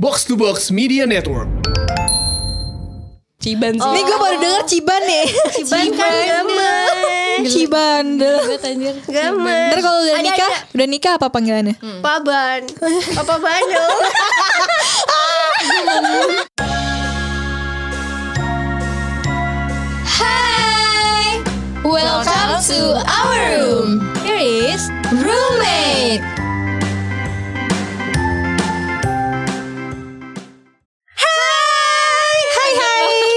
Box to Box Media Network. Ciban sih. Nih gue baru denger Ciban nih. Ciban kan gaman. Ciban. anjir. Gaman. Ntar kalau udah Ada- nikah, ada udah nikah apa panggilannya? Hmm. Paban. Apa Ya Bano? Hai. Welcome to our room. Here is roommate. Hai hai.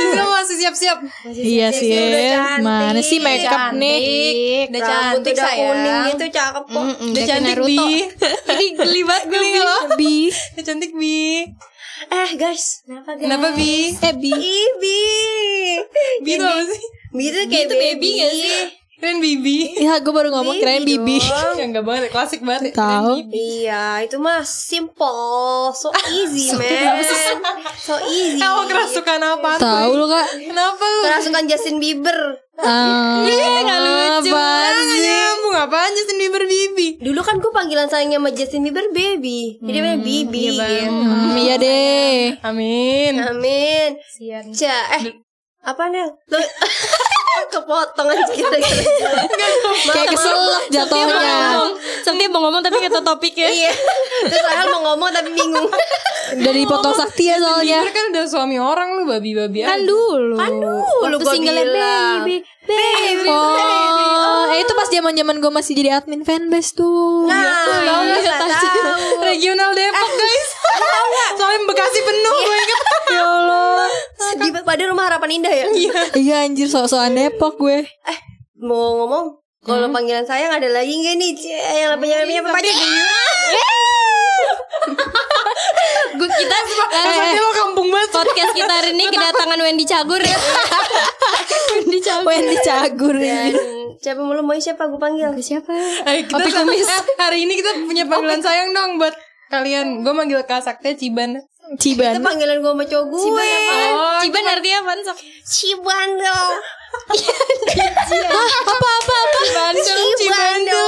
Kita masih siap-siap. Iya sih. Udah cantik. Mana sih makeup nih? Udah Rambut cantik, udah sayang. kuning itu cakep kok. Hmm, Udah cantik Bi. Ini geli banget gue Bi. Bi. Udah cantik Bi. Eh guys, kenapa guys? Kenapa Bi? Eh Bi. Ibi. Bi itu apa sih? Bi itu kayak Itu baby gak sih? Keren Bibi. Ya gue baru ngomong kirain Bibi. Ya enggak banget, klasik banget. Tahu. Keren, Bibi. Iya, itu mah simple, so easy man, so easy. Tahu kerasukan apa? Tahu lu kak? Kenapa lu? Kerasukan Justin Bieber. Ah, apaan sih? Kamu ngapain Justin Bieber Bibi? Dulu kan gue panggilan sayangnya sama Justin Bieber baby, jadi namanya Bibi. Hmm, iya deh. Amin. Amin. Sian. Ca, eh apa Nel? Lu kepotongan kira-kira. Kayak keselak jatuhnya. Sampai mau ngomong tapi kata topik ya. Iya. Terus Rahel mau ngomong tapi bingung. Dari foto sakti ya Iya. soalnya. Kan Bieber kan udah suami orang lu babi-babi Kan aja. dulu. Dulu Waktu single baby. Baby. Oh, eh itu pas zaman-zaman gue masih jadi admin fanbase tuh. Nah, tahu Iya, enggak tahu. tahu. Regional Depok guys. Soalnya Bekasi penuh Iya. gue inget. Ya Allah. Di pada rumah harapan indah ya. oh. Iya anjir sok-sokan Depok gue. Mau ngomong kalau Hmm. panggilan sayang ada lagi nggak nih? Cie, yang namanya Iya, namanya apa tadi? Gue kita Eh, lo kampung banget. podcast kita hari ini kedatangan Wendy Cagur ya. Wendy Cagur. Wendy Cagur ya. Dan siapa mulu mau siapa gue panggil? Siapa? Eh, kita Opik sama- eh, hari ini kita punya panggilan sayang dong buat kalian. Gue manggil Kak Saktia Ciban. Itu Anu. Ciban. panggilan gue sama cowok gue. Oh, Ciban artinya apa? Cibando. Apa apa apa? Bandung, Cibando.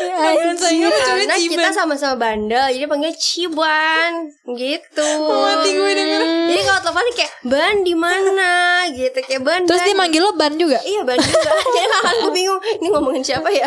Panggilan sayangnya lucunya Karena kita Ciban. sama-sama bandel, jadi panggil Ciban gitu. Mati gue denger. Jadi kalau telepon kayak ban di mana gitu kayak ban. Terus ban. dia manggil lo Ban juga. iya ban juga. Jadi malah aku bingung ini ngomongin siapa ya?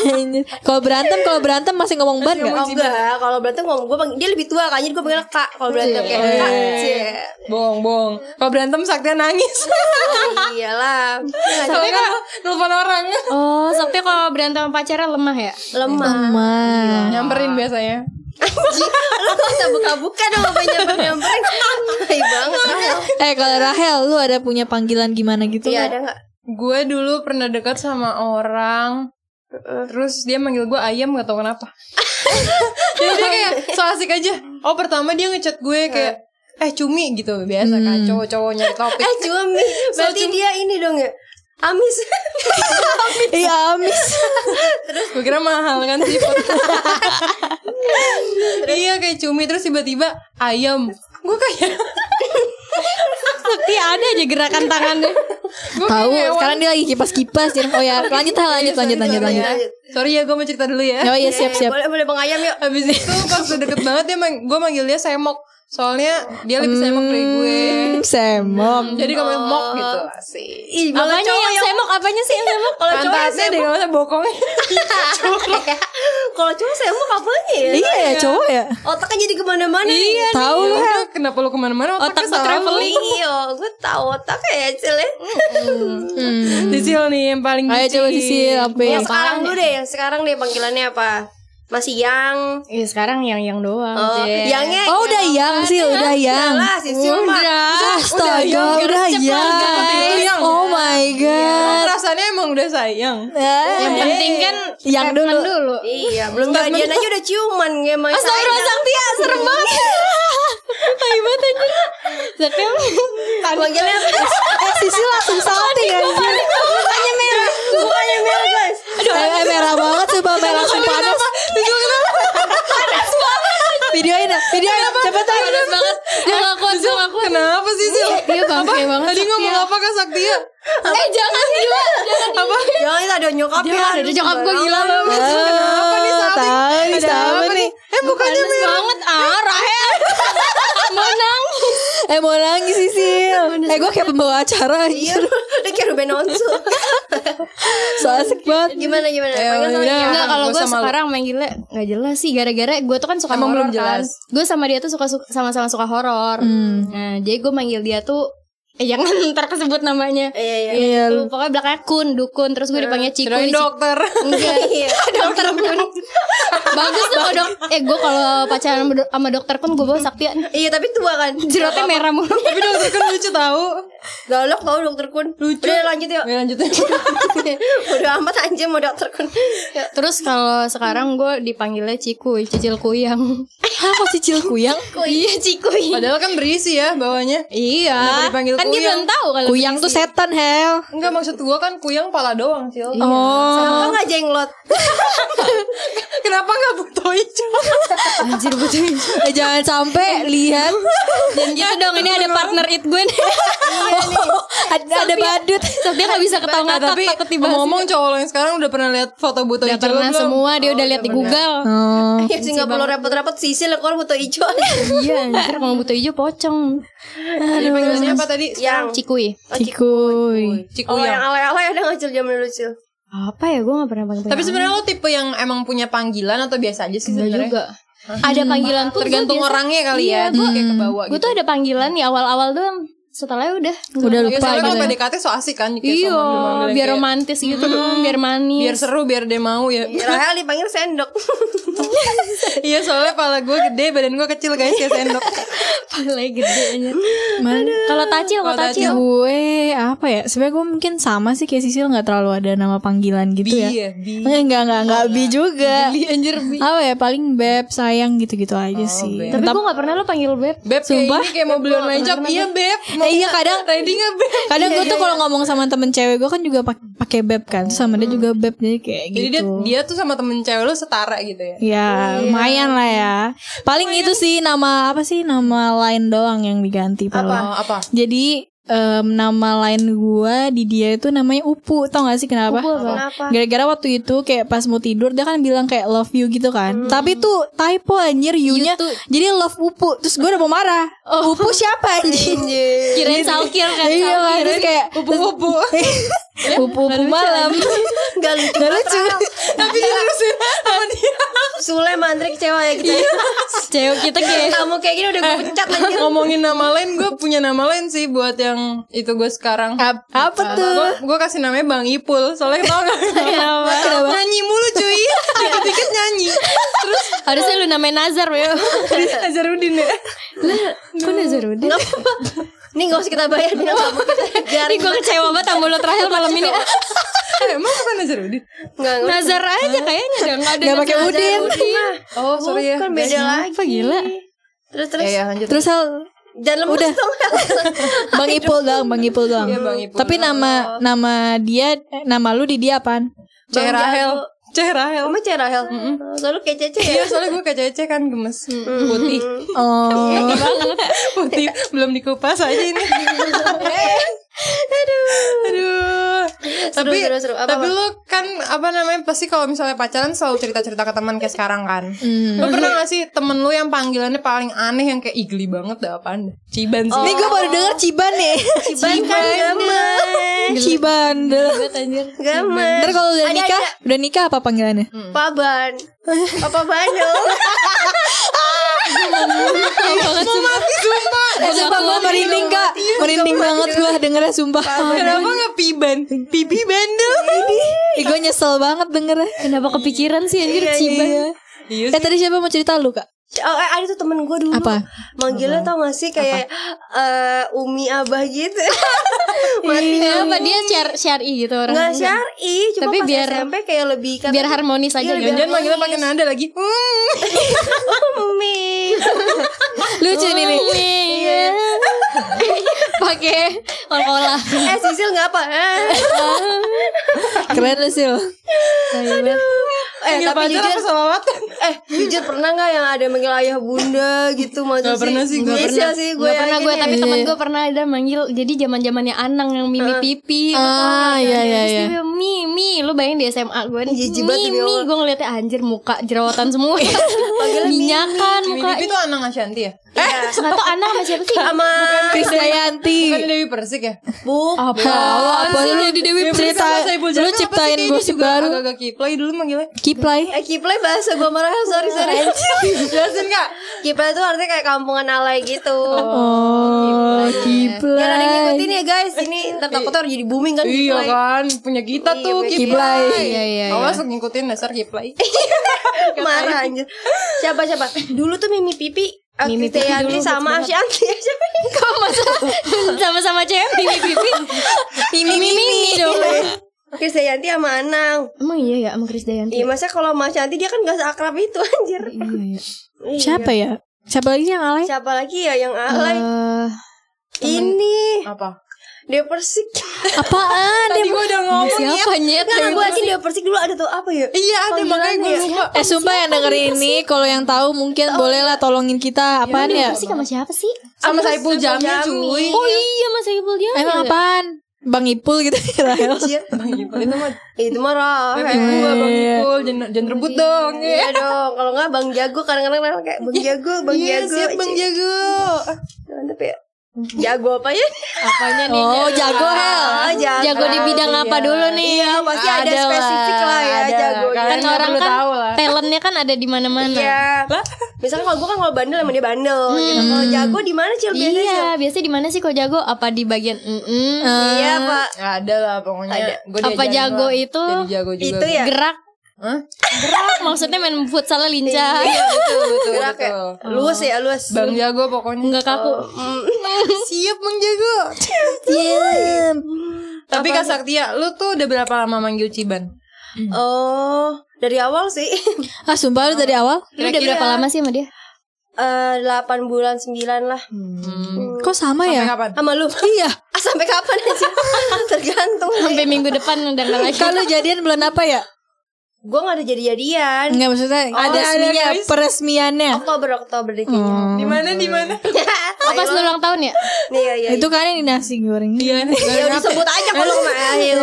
Anjir. Kalau berantem, kalau berantem masih ngomong Ban enggak? Oh enggak, kalau berantem ngomong gue panggil dia lebih tua kan jadi gue panggil kak kalau berantem kayak kak. Iya. Cie. Bohong, bohong. Kalau berantem Saktia nangis. Oh, iyalah. Iya, Nggak Soalnya kan nelfon orang. Oh, sampai Iya. kalau berantem sama pacarnya lemah ya? lemah. Mah. Nyamperin biasanya. Lu gak usah buka-buka dong apa nyamper nyamperin. Tai banget. Rahel. Eh kalau Rahel, lu ada punya panggilan gimana gitu? Iya nggak? ada nggak? Gue dulu pernah dekat sama orang Terus dia manggil gue ayam gak tau kenapa Jadi dia kayak so asik aja Oh pertama dia ngechat gue kayak Eh cumi gitu Biasa kan Hmm. cowok-cowok nyari topik Eh cumi. Berarti dia ini dong ya. Amis. Iya amis. Gue kira mahal kan seafood Iya kayak cumi Terus tiba-tiba ayam Gue kayak Tapi ada aja gerakan tangannya. Gue Tahu, kayak sekarang dia lagi kipas-kipas jadi Oh ya, lanjut Hel, lanjut lanjut lanjut lanjut. Sorry ya gue mau cerita dulu ya Oh iya siap Eh, siap. Boleh boleh Bang Ayam yuk. Habis itu pas udah deket banget dia mang gue manggil dia semok. Soalnya dia lebih semok dari gue. Hmm, semok. Jadi kamu mok gitu lah sih. Oh, Ih, kalau Apanya cowok ya. Iya. yang semok? Apanya sih yang semok? Kalau cowok yang Pantatnya deh semok- kalau saya bokongnya. Kalau cowok saya mau apanya ya? Iya ya cowok ya. Otaknya jadi kemana-mana ya? Iya. Tahu Iya, lu udah, kenapa lu kemana-mana Otak otaknya lu selalu traveling. Iya, gue tahu otaknya ya Cil ya Hmm. Sisil nih yang paling Iya, Ayo bucin. coba sisir apa? Yang sekarang dulu deh, yang sekarang deh panggilannya apa? Masih yang Iya, sekarang yang-yang doang. Oh, Jess. Yangnya Oh udah yang sih, udah yang. Lah, si Silma Astaga, udah yang. Oh my Emang god. Iya, Eh. Perasaannya emang udah sayang. Yang penting kan Yang statement dulu. dulu. Iya, belum jadian aja udah ciuman kayak main Astaga, sayang. Sang Tia serem banget. Tapi Panggilannya apa? Eh, Sisil langsung salting anjir. Mukanya merah Mukanya merah guys Eh, eh, merah banget sumpah merah langsung panas. Videoin dah, videoin cepetan. panas banget. Gue gak kuat, gue gak kuat. Kenapa sih Sil? Dia bangke banget. Tadi ngomong apa ke Saktia? Eh, jangan gila. Apa? Jangan itu ada nyokapnya Jangan, ada nyokap gue gila banget. Oh, Eh, Kenapa nih salting? tahu nih Ada sama apa nih. nih? Eh mukanya Panas merah. banget. Ah, Rahel. Eh mau nangis Sisil Eh gue kayak pembawa acara Iya, udah kayak Ruben Onsu. So asik banget Gimana gimana? Eh, Panggil sama dia. udah. Enggak Enggak, kalau gua gue sama lu. sekarang manggilnya Gak jelas sih Gara-gara gue tuh kan suka Emang horor belum jelas. kan Gue sama dia tuh suka suka- sama-sama suka horor Nah jadi gue manggil dia tuh Eh jangan ntar kesebut namanya Iya iya. Iya lu Pokoknya belakangnya kun Dukun Terus gue dipanggil Ciku Kirain Ciku. dokter. Enggak Iya. dokter kun Bagus tuh dok Eh gue kalau pacaran sama do- sama dokter kun Gue bawa saktian Iya tapi tua kan. Jerotnya merah mulu Tapi dokter kan lucu tahu. Galak tau dokter kun. Lucu. Udah lanjut yuk. Ya lanjutin. Udah amat anjir mau dokter kun. Yuk. Terus kalau sekarang gue dipanggilnya Cikuy, cicil kuyang. Apa cicil kuyang? iya Cikuy. Padahal kan berisi ya bawahnya. Iya. dipanggil Kan dia kuyang? belum tahu kalau Kuyang tuh setan hell Enggak maksud gua kan kuyang pala doang, Cil. Kenapa nggak jenglot? Kenapa nggak butuh hijau? Anjir betul Eh jangan sampai lihat dan gitu dong. Ini ada partner it gue Iya nih. Ada, ada badut Dia nggak bisa ketawa Nah, ngatak tapi takut tiba ngomong cowok lo yang sekarang udah pernah lihat foto butuh Udah hijau pernah belum? semua dia udah lihat di Google. oh. Ya sih nggak perlu repot-repot sisi lekor butuh hijau. Iya, anjir kalau butuh hijau pocong. Jadi panggilannya apa tadi? Oh, Yang Cikuy. Cikuy Oh, yang Cikuyang. awal-awal udah ngecil zaman dulu cil. Apa ya gue gak pernah panggil. Tapi sebenarnya lo tipe yang emang punya panggilan atau biasa aja sih Enggak sebenarnya? juga. Ada panggilan pun gua Tergantung biasa- orangnya kali Iya, ya. Gue kayak kebawa Gue gitu. tuh ada panggilan ya awal-awal doang. Setelahnya udah. Udah Ya, lupa soalnya gitu kalau ya. PDKT so asik kan kayak Iya, sama manggil yang biar kayak- romantis gitu, Hmm. biar manis. biar seru biar dia mau ya Iya. Rahel dipanggil sendok. iya soalnya pala gue gede badan gue kecil guys ya sendok Lagi gede aja. Kalau tacil, kalau Kalau tacil. Gue apa ya Sebenernya gue mungkin sama sih kayak Sisil Gak terlalu ada nama panggilan gitu ya Iya, bi. Enggak, enggak, enggak, enggak bi juga anjir bi Oh, Apa ya, paling beb, sayang gitu-gitu aja sih beb. Tapi gue gak pernah lo panggil beb. Beb Sumpah? kayak ini kayak mau beli online shop Iya Beb Eh, iya kadang Ready gak Beb Kadang gue iya, tuh kalau ngomong sama temen cewek gue kan juga pak- pakai beb kan Terus sama dia juga beb Jadi kayak Hmm. Jadi dia, gitu dia tuh sama temen cewek lu setara gitu ya Ya Iya. lumayan lah ya Paling itu sih nama Apa sih nama lain doang yang diganti paling Oh, apa? Jadi em, nama lain gue di dia itu namanya Upu Tau gak sih kenapa? Kenapa? Gara-gara waktu itu kayak pas mau tidur dia kan bilang kayak love you gitu Hmm. kan. Tapi tuh typo anjir you-nya. jadi love Upu. Terus gue udah mau marah. Upu siapa anjir? Oh, Kirain salkir kan. Iya lah terus kayak Upu-upu Ya, Upu-upu malam. Gak lucu. Ya. Gak lucu. Tapi dia terusin sama dia Iya. Sule mantri kecewa ya kita. Cewek kita kayak Kamu kayak gini udah gue pecat aja. Ngomongin nama lain Gue punya nama lain sih Buat yang itu gue sekarang Ap- apa tuh? Iya. Gue gue kasih namanya Bang Ipul Soalnya tau gak Nyanyi mulu cuy Dikit-dikit nyanyi Terus harusnya lu namain Nazar, Beb. Azarudin ya Kok Nazaruddin? Gak apa-apa. Nih gak usah kita bayar nih gak apa-apa. Ini gue kecewa banget sama lo terakhir malam ini. Ah, Eh, Emang bukan Nazarudin? Gak usah. Nazar aja kayaknya udah gak ada. Gak pakai udin. Oh, sorry ya. Kan beda lagi. Apa gila? Terus Ya, terus. ya, lanjut. Terus hal Jangan lemes Udah. dong. Bang Ipul doang, Bang Ipul doang. Iya, Bang Ipul Tapi nama nama dia eh, nama lu di dia apaan? Ceh Bang Rahel. Jago. Ceh Rahel. Kamu cewek Rahel. Selalu kayak cece ya. Iya, soalnya gue kayak cece kan gemes. Putih. Oh. Putih. Belum dikupas aja ini. Aduh. Aduh. Seru, Tapi, seru, seru. Apa, tapi apa? lu kan apa namanya pasti kalau misalnya pacaran selalu cerita-cerita ke teman kayak sekarang kan. Hmm. Lu pernah gak sih temen lu yang panggilannya paling aneh yang kayak igli banget dah apaan? dah? Ciban sih. Ini gue baru denger Oh, Ciban nih. Ciban kan gaman. Ciban. Gaman. Ntar kalau udah Ada, Hmm. nikah, udah nikah apa panggilannya? Paban. Apa banyo? Eh, sumpah gue merinding kak Merinding banget gue dengernya sumpah Kenapa gak piban? Pipi bandel. Ih gue nyesel banget dengernya Kenapa kepikiran sih anjir Ciban? Iya Eh tadi siapa mau cerita lu kak? Oh, eh, ada tuh temen gue dulu Apa? Manggilnya tau gak sih kayak eh, Umi Abah gitu Mati Iya. Kenapa dia syar- syari gitu orang? Nggak syari Cuma Tapi pas biar- SMP kayak lebih kata Biar harmonis aja gitu. Jangan-jangan manggilnya pakai nada lagi. Hmm. Umi Lucu nih nih Iya. Pakai kol-kola. Eh Sisil gak apa Eh, Keren lu Sil Eh Panggil tapi pacar jujur apa solawatan? Eh jujur pernah gak yang ada manggil ayah bunda gitu maksudnya Gak pernah sih, gak Sisil sih gue Gak pernah yakin gue ya. tapi temen gue pernah ada manggil jadi zaman zamannya Anang yang Mimi Pipi. Nah, Ah iya iya Terus iya dia bilang, Mimi, lu bayangin di SMA gue nih Jijik banget demi Mimi, Allah. gue Iya. ngeliatnya anjir muka jerawatan semua Minyakan Mimi muka Pipi tuh Anang Ashanti ya? Eh, Nggak tahu Ana sama siapa sih? Iya. Sama Krisdayanti. Bukan Dewi Persik ya? Bu Apa? Apa lu Iya, jadi Dewi kan cerita? Lu ciptain gitu gosip baru. Agak-agak kiplay dulu manggilnya Kiplay. Eh Kiplay bahasa gue marah Sorry sorry Jelasin kak Kiplay tuh artinya kayak kampungan alay gitu Oh, Biar ada yang Kiplay. ngikutin ya guys Ini ntar takutnya orang jadi booming kan Iya Kiplay kan Punya kita tuh punya kiplay Iya, iya, Awas lu ngikutin dasar kiplay Marah anjir Siapa siapa Dulu tuh Mimi Pipi eh, Mimi Pipi Kristianti dulu, sama betul Asyanti Siapa ya? ini? Kok maksudnya sama-sama cewek Mimi Mimi Mimi Mimi dong Kristianti sama Anang Emang iya ya sama Krisdayanti? Iya masa kalau sama Asyanti dia kan gak seakrab itu anjir Iya, iya. Iya. Siapa ya? Siapa lagi yang alay? Siapa lagi ya yang alay Eh, Ini Apa? Dia Persik Apaan? Tadi gua udah ngomong ya Siapa nyet? Nggak, gue yakin Dewa Persik dulu ada tuh apa ya? Iya ada Panggilan makanya gue ya. lupa Eh sumpah yang dengerin ini kalau yang tahu mungkin bolehlah tolongin kita apaan ya? Persik sama siapa sih? Sama Saipul Jamil Jamil. cuy Oh iya Mas Iqbal dia Emang apaan? Bang Ipul gitu Rahel. Anjir. Bang Ipul itu mah Itu mah Rahel. Bebek gua Bang Ipul Jangan jangan rebut dong Iya dong, kalau enggak Bang Jago kadang-kadang Rahel kayak Bang Jago, Bang Iya Jago. siap Bang Cik. Jago Mantep ya. Jago apa ya? Apanya nih Oh jago Hel. Ah, jago. Jago di bidang Iya. apa dulu nih? Iya, pasti ada, Ada spesifik lah ya ada, Jago. kan. Kan Nggak orang perlu kan tahu lah. talentnya kan ada di mana-mana. Iya. Misalnya kalau gue kan kalau bandel sama dia bandel. gitu. Kalau Jago di mana Cil biasanya? Cil? Iya, biasanya di mana sih kok jago? Apa di bagian mm Iya, Pak. Nggak Ya, ada lah pokoknya Ada. Gua Apa diajarin jago doang. itu? Jadi jago juga Itu ya. Gerak. Hah? Gerak maksudnya main futsalnya lincah. Iya, betul, betul, Gerak ya? betul. Luas ya, luas. Bang Jago pokoknya Oh, Enggak kaku. Siap Bang Jago Diam. Tapi Kak Saktia Lu tuh udah berapa lama manggil Ciban? Oh, dari awal sih. Ah sumpah lu dari awal? Lu udah berapa lama sih sama dia? Eh, 8 bulan 9 lah. Kok sama Sampai ya? kapan? Sama lu. Iya. Ah, sampai kapan aja? Tergantung. Sampai minggu depan udah enggak lagi. Kalau jadian bulan apa ya? Gue gak ada jadi-jadian. Enggak maksudnya ada resminya, guys. peresmiannya. Oktober Oktober deh kayaknya. Di mana di mana? Oh, pas lu ulang tahun ya? Nih ya ya. Itu kan yang di nasi goreng. Iya. Ya udah sebut aja kalau mah ayo.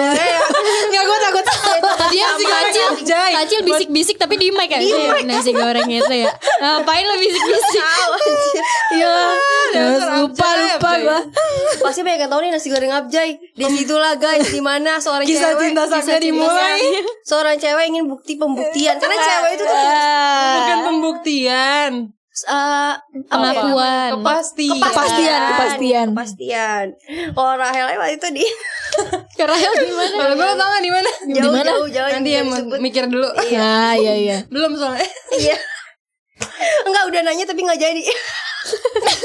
Enggak gua takut. Dia si kacil, Jai. kacil bisik-bisik tapi di mic kan? Nasi goreng itu ya. Ngapain lu bisik-bisik? Iya. Terus lupa lupa ya, gua. Pasti banyak yang tahu nih nasi goreng abjay. Di situlah guys, di mana seorang Kisah cewek cinta kisah Saktia cinta dimulai. Saktia. Seorang cewek ingin bukti pembuktian karena cewek itu tuh Ah, Bukan pembuktian. eh, apa ya? Pengakuan. Kepastian. Kepastian, kepastian. Kepastian. Kalau Rahel waktu itu di Kerahel gimana? Kalau gue tau gak di mana? jauh jauh jauh Nanti ya yang mau disebut. mikir dulu. Nah, iya iya. Belum soalnya. Iya. Enggak udah nanya tapi nggak jadi.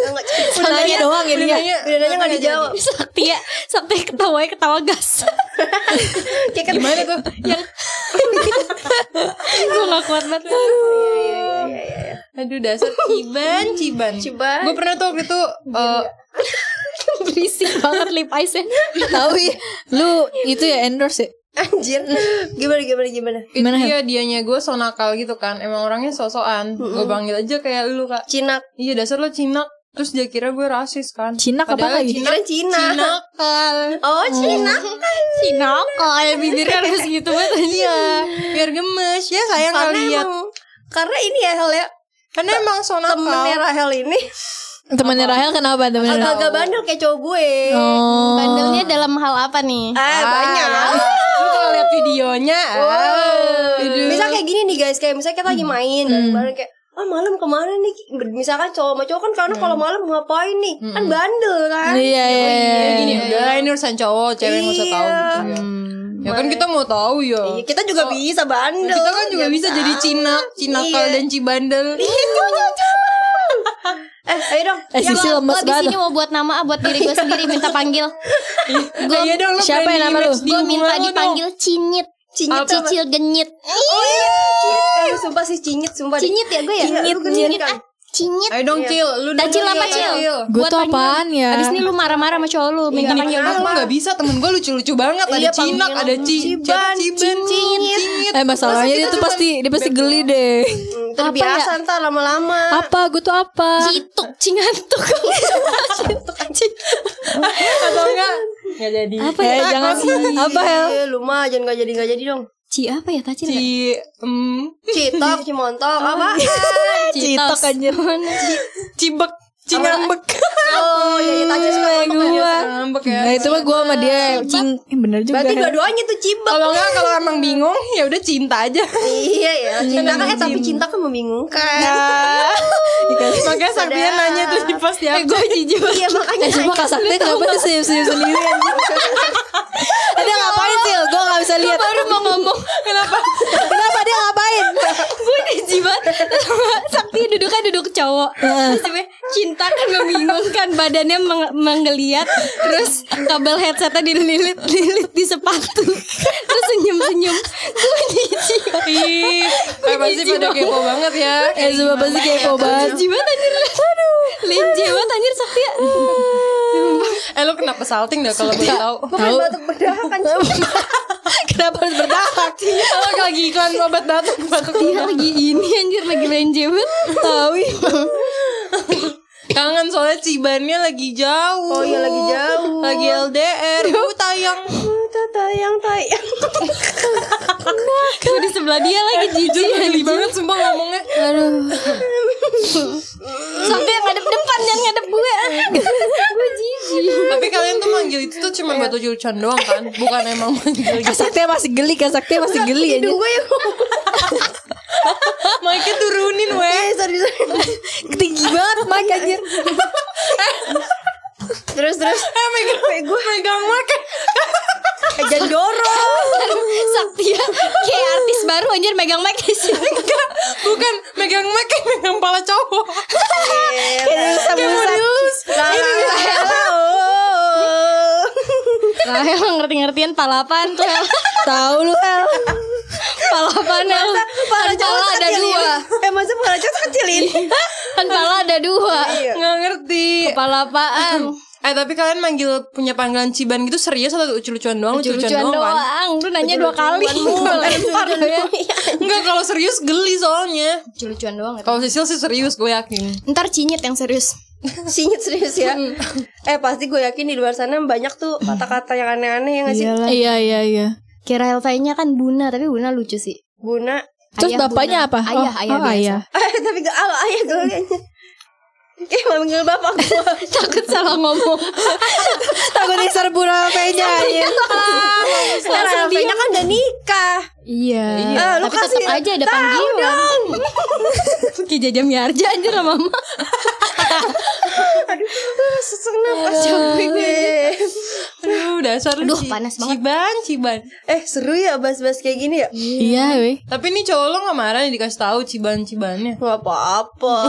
Enggak jadi. Nanya doang ya dia. Nanya, Udah nanya nggak dijawab. Saktia, Saktia ketawa ketawa gas. Kayak kan- Gimana tuh? Yang gue gak kuat banget. iya, Aduh dasar ciban, ciban. Ciban. Gue pernah tuh waktu itu eh, Berisik banget lip ice-nya. Tahu ya. Lu itu ya endorse ya? Anjir. Gimana gimana gimana? itu Gimana, Hel? dia dianya gue so nakal gitu kan. Emang orangnya sosokan. Gue panggil aja kayak lu kak. Cina Iya dasar lo cinak. Terus dia kira gue rasis kan. Cinak apa Padahal lagi? Cinak, Kira Cina. Cinakal. Oh, Cina. Si nakal, bibirnya harus gitu banget. Iya. Biar gemes ya sayang Karena kali lihat. emang karena ini ya Hel ya Karena emang so temennya nakal. Rahel ini Temannya Rahel kenapa temannya? Rahel? agak-agak bandel kayak cowok gue. Oh. Bandelnya dalam hal apa nih? Ah, banyak. Lu kalau lihat videonya. ah. Aduh. Hmm. Misal kayak gini nih guys, kayak misalnya kita lagi main dan bareng kayak ah malam kemana nih misalkan cowok sama cowok kan karena Hmm. kalau malam ngapain nih kan bandel kan Iya iya. Kayak iya. gini, ya. udah lah ini urusan cowok, cewek nggak usah tahu gitu ya. Ya kan kita mau tahu ya. Iya, kita juga bisa bandel Kita kan juga bisa jadi Cina, Cinakal Iya. dan Cibandel. eh ayo dong Eh Sisi lemes Gue banget. sini mau buat nama ah, buat diri gue sendiri minta panggil. ya Gua, iya dong, lu siapa branding yang nama lu? image di Gue hubungan minta lu dong. dipanggil cinyit. Cinyit Apa? cicil genyit. oh iya Eh, sumpah sih cinyit sumpah deh. Cinyit ya gue ya? Iya, lu genyit cinyit. kan? Ah, cinyit. Ayo dong, Cil. Lu Oh, Dan iya, Cil ya? apa, Cil? Gue Buat tuh panggil. apaan ya? Abis ini lu marah-marah sama cowok lu minta panggil Aku nggak bisa, temen gue lucu-lucu banget. Ada Iya, Cinak, panggilan. ada Ci, Ciban, Ciban, Cincin, Cincit. Eh masalahnya dia tuh pasti dia pasti geli deh. Hmm, terbiasa ya? ntar lama-lama Apa gue tuh apa? Cituk, cingantuk ya? kan. Atau enggak? Nggak jadi. Apa Eh, ya? jangan apa ya? ya? Hel? Iya, lu mah jangan gak jadi gak jadi dong Ci apa ya tacil Ci, ya? mm, Oh, iya. Citok, cimontok, apa? Citok anjir. Cibek. Cing ngambek. Oh, ya, ya tajus suka ngambek ya. Gua. Ngambek ya. Nah, itu mah gua sama dia cing. Eh, bener juga. Berarti ya. dua-duanya tuh cibek. Kalau enggak kalau emang bingung ya udah cinta aja. Iya ya, cinta kan eh tapi cinta kan Ya. membingungkan. Nah, Makanya Sabian Saudara. nanya tuh di pas dia. gue jijik Iya makanya Eh coba Kak Sakti kenapa tuh senyum-senyum sendiri anjing Dia ngapain sih? Gue gak bisa lihat baru mau ngomong Kenapa? Kenapa dia ngapain? gue dijibat sakti duduknya duduk cowok terus dia bilang, cinta kan membingungkan badannya meng- menggeliat terus kabel headsetnya dililit lilit di sepatu terus senyum senyum gue dijibat Ih, eh, pasti jijik pada banget. kepo banget ya. Eh coba pasti kepo banget jibat anjir aduh linci banget anjir sakti ya Eh lu kenapa salting dah kalau boleh tahu? bukan batuk berdarah kan cibek. Kenapa harus berdahak? Kalau lagi iklan obat batuk, batuk. dia lagi ini anjir lagi lenje banget tahu ya. Kangen soalnya cibannya lagi jauh. Oh iya lagi jauh. Lagi LDR. Bu tayang. tayang tayang. gue Kan di sebelah dia lagi Jujur jijik geli banget sumpah ngomongnya. Aduh. Sampai yang ngadep depan jangan ngadep gue. gue jijik. Tapi kalian tuh manggil itu tuh Iya. cuma batu jurusan doang kan? Bukan emang manggil Kak Sakti masih geli, Kak Sakti masih geli anjir Gue yang Mike turunin weh. eh sorry sorry. Iya. Tinggi banget Mike anjir Terus terus Eh megang gue megang Mike. eh, jangan dorong. Saktia kayak artis baru anjir megang mic di sini. Bukan kan megang Mike kayak megang pala cowok. Iya, Kayak mau dielus. Ini Rahel ngerti-ngertian palapan tuh. Hel. Tahu lu El Palapan Hel. Kan Pala ada dua. Eh masa pala cowok kecil ini. Kan pala ada dua. Nggak ngerti. Palapaan. Eh tapi kalian manggil punya panggilan ciban gitu serius atau lucu-lucuan doang? Lucu-lucuan Lucu-lucuan doang, kan? doang. Lu nanya dua kali. Lempar lu ya. Enggak kalau serius geli soalnya. Lucu-lucuan doang. itu. Kalau Sisil sih serius gue yakin. Ntar cinyit yang serius. Sinyet serius ya. eh pasti gue yakin di luar sana banyak tuh kata-kata yang aneh-aneh ya yang ngasih Iya, iya, iya Kira Helvainya kan Buna, tapi Buna lucu sih. Buna. Terus Ayah bapaknya Buna. apa? Ayah, Oh, ayah oh, biasa. ayah. Eh tapi gak ala ayah gue kayaknya. Kayak manggil bapak gue. Takut salah ngomong. Takut diserbu Iya, rapenya anjir Sekarang Elvanya kan udah nikah. Iya. Eh, lu tapi tetap kasih aja ada tahu panggilan. Kayak jajam yarja anjir sama mama. Ah, Sesak nafas capek gue. Aduh dasar lu Aduh, Ci- panas banget. Ciban, ciban. Eh seru ya bahas-bahas kayak gini ya. Hmm. Iya, weh Tapi nih cowok lo gak marah nih dikasih tahu ciban-cibannya. Gak apa-apa.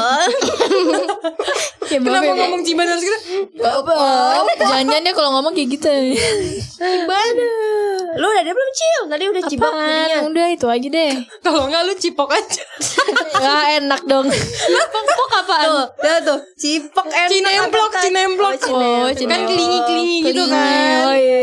Kayak Kenapa bapak- ngomong ciban harus gitu? Oh, Jangan-jangan dia kalau ngomong kayak gitu Lu udah ada belum cil? Tadi udah cibak jadinya. Apaan? Udah itu aja deh Kalau enggak lu cipok aja. Wah enak dong Pok apaan? Tuh, dah tuh, cipok enak. Cinemplok, apa kan? cinemplok. Oh, cinemplok. Kan kelingi-kelingi gitu kan. Oh iya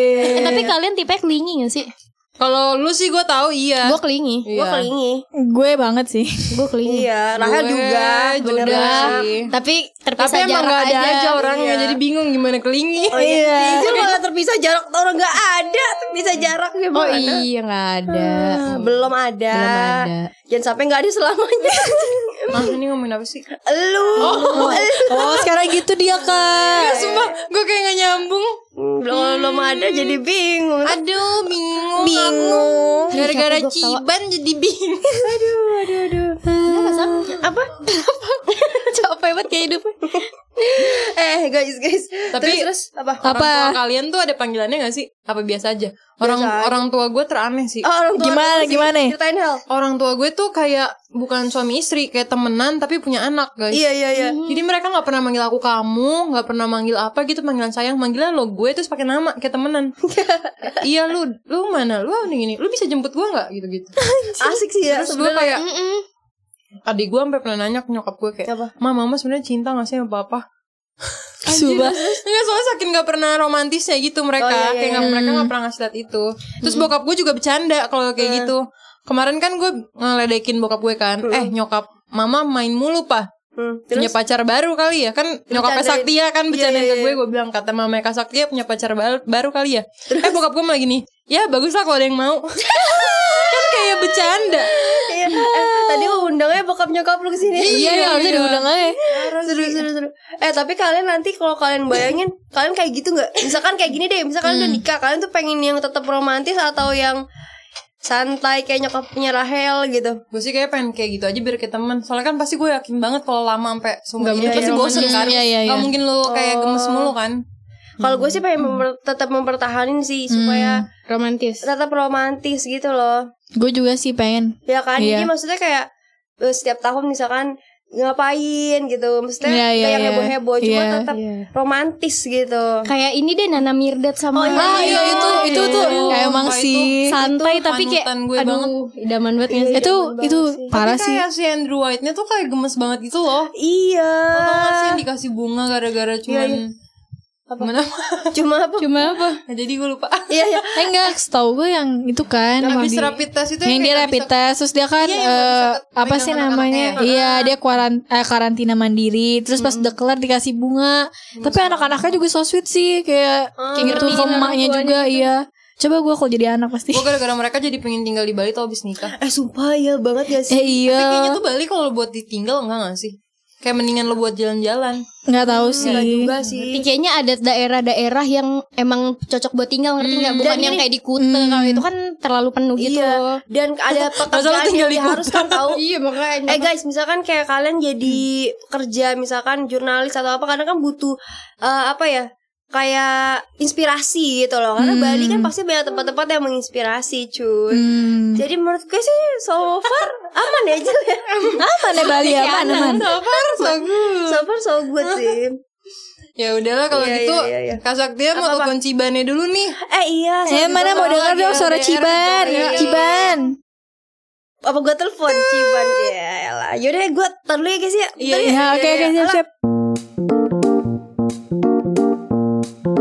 Eh, tapi kalian tipe kelingi gak sih? Kalau lu sih gue tahu iya. Gue kelingi. Gue kelingi. Gue banget sih Gue kelingi. Iya, Rahel Gue juga. Bener juga lah. sih. Tapi terpisah Tapi emang jarak gak ada aja orangnya Iya. jadi bingung gimana kelingi. Oh iya, Cil malah terpisah jarak tuh orang gak ada terpisah jarak gimana? Oh iya gak ada. Ah, belum ada. Belum ada. Jangan sampai gak ada selamanya. Mah Ah, ini ngomongin apa sih? Lu, lu. Oh sekarang gitu dia kak Sumpah gue kayak gak nyambung. belum belum ada jadi bingung. Aduh bingung. bingung. Gara-gara Capek gua ketawa. ciban jadi bingung. Apa? Capek banget kayak hidupnya. Eh guys guys. Tapi- terus, terus apa? Apa? Orang tua kalian tuh ada panggilannya gak sih? Apa biasa aja? Orang Biasa aja. orang tua gue teraneh sih. Oh, orang tua Gimana, apa sih? gimana? Ceritain hal. Orang tua gue tuh kayak bukan suami istri, kayak temenan tapi punya anak guys. Iya iya iya. Jadi mereka nggak pernah manggil aku kamu, nggak pernah manggil apa gitu panggilan sayang, manggilnya lo gue terus pakai nama kayak temenan. iya lu, lu mana? Lu ini gini, lu bisa jemput gue nggak gitu-gitu. Asik sih ya. Terus gue sebenernya. kayak adik gue sampai pernah nanya ke nyokap gue kayak, Apa? "Ma, mama sebenarnya cinta gak sih sama papa?" Sumpah Enggak soalnya saking gak pernah romantisnya gitu mereka Oh, iya, iya, Kayak nggak- mereka gak pernah ngasih liat itu Terus bokap gue juga bercanda kalau kayak gitu Kemarin kan gue ngeledekin bokap gue kan Eh nyokap mama main mulu pa Hmm, Punya pacar baru kali ya Kan nyokapnya Bercandain. Saktia kan bercanda Iya, iya, ke gue Gue bilang kata mama Kak Saktia punya pacar baru, baru kali ya Eh bokap gue malah gini Ya bagus lah kalau ada yang mau Kan kayak kayak bercanda. Iya. Eh, tadi mau undangnya bokap nyokap lu kesini. Iya, ya harusnya diundang aja. seru seru seru. Eh tapi kalian nanti kalau kalian bayangin kalian kayak gitu nggak? Misalkan kayak gini deh, misalkan Hmm. udah nikah kalian tuh pengen yang tetap romantis atau yang santai kayak nyokapnya Rahel gitu. Gue sih kayak pengen kayak gitu aja biar kayak temen. Soalnya kan pasti gue yakin banget kalau lama sampai seumur Nggak hidup mungkin pasti ya, bosen kan. Iya, iya, Nggak iya. mungkin lo kayak Oh. gemes mulu kan. Kalau gue sih Hmm. pengen memper- tetap mempertahanin sih supaya romantis tetap romantis gitu loh. Gue juga sih pengen. Ya kan? Jadi Iya. maksudnya kayak eh, setiap tahun misalkan ngapain gitu. Maksudnya Iya, iya, kayak yang iya. heboh-heboh cuma Iya. tetap romantis gitu. kayak ini deh Nana Mirdad sama Ah, iya, gitu. itu itu tuh kayak emang Sumpah sih. santai Itu tapi kayak panutan gue aduh banget. idaman banget nggak sih? Itu itu parah Tapi sih. kayak si Andrew White-nya tuh kayak gemes banget gitu loh. Iya. Tau gak sih yang dikasih bunga gara-gara cuman Gimana? Oh. Cuma apa? cuma apa Nah, jadi gue lupa. Iya, iya. Eh enggak, setahu gue yang itu kan Habis yang di- rapid test itu yang dia kayak rapid bisa- test terus dia kan Iya, yang nggak eh, bisa ke- apa sih pegang anak-anaknya namanya? Iya, dia kuaran- eh, karantina mandiri. Terus Hmm. pas udah kelar dikasih bunga. Tapi anak-anaknya juga so sweet sih kayak Ah, kayak gitu ke emaknya juga, gitu. iya. Coba gue kalau jadi anak pasti. Gue gara-gara mereka jadi pengen tinggal di Bali tuh abis nikah. Eh sumpah ya banget gak sih? Eh Tapi kayaknya iya, tuh Bali kalau buat ditinggal enggak gak sih? Kayak mendingan lo buat jalan-jalan. nggak tahu Hmm, sih. Iya. juga Tapi sih. kayaknya ada daerah-daerah yang emang cocok buat tinggal ngerti nggak bukan yang kayak di Kute kalau itu kan terlalu penuh gitu Iya. loh. Dan ada Masa pekerjaan lu yang tinggal di kota? diharuskan tahu. iya makanya Eh guys, misalkan kayak kalian jadi kerja misalkan jurnalis atau apa kadang kan butuh eh, apa ya? Kayak inspirasi gitu loh. Karena Bali kan pasti banyak tempat-tempat yang menginspirasi, cuy. Hmm. Jadi menurut gue sih so far aman ya Jel ya. Mana Bali aman, aman. So far so good sih. Ya udahlah kalau Iya, gitu, iya, iya, iya. Kak Saktia mau telepon Cibane dulu nih. Eh iya. Eh sorry, mana sorry. mau denger dong suara LDR, Ciban, iya. Ciban. Apa gue telepon Ciban ya? elah. Yaudah gue tar dulu Iya, ya Iya, guys ya. Bentar ya. Ya oke oke siap siap.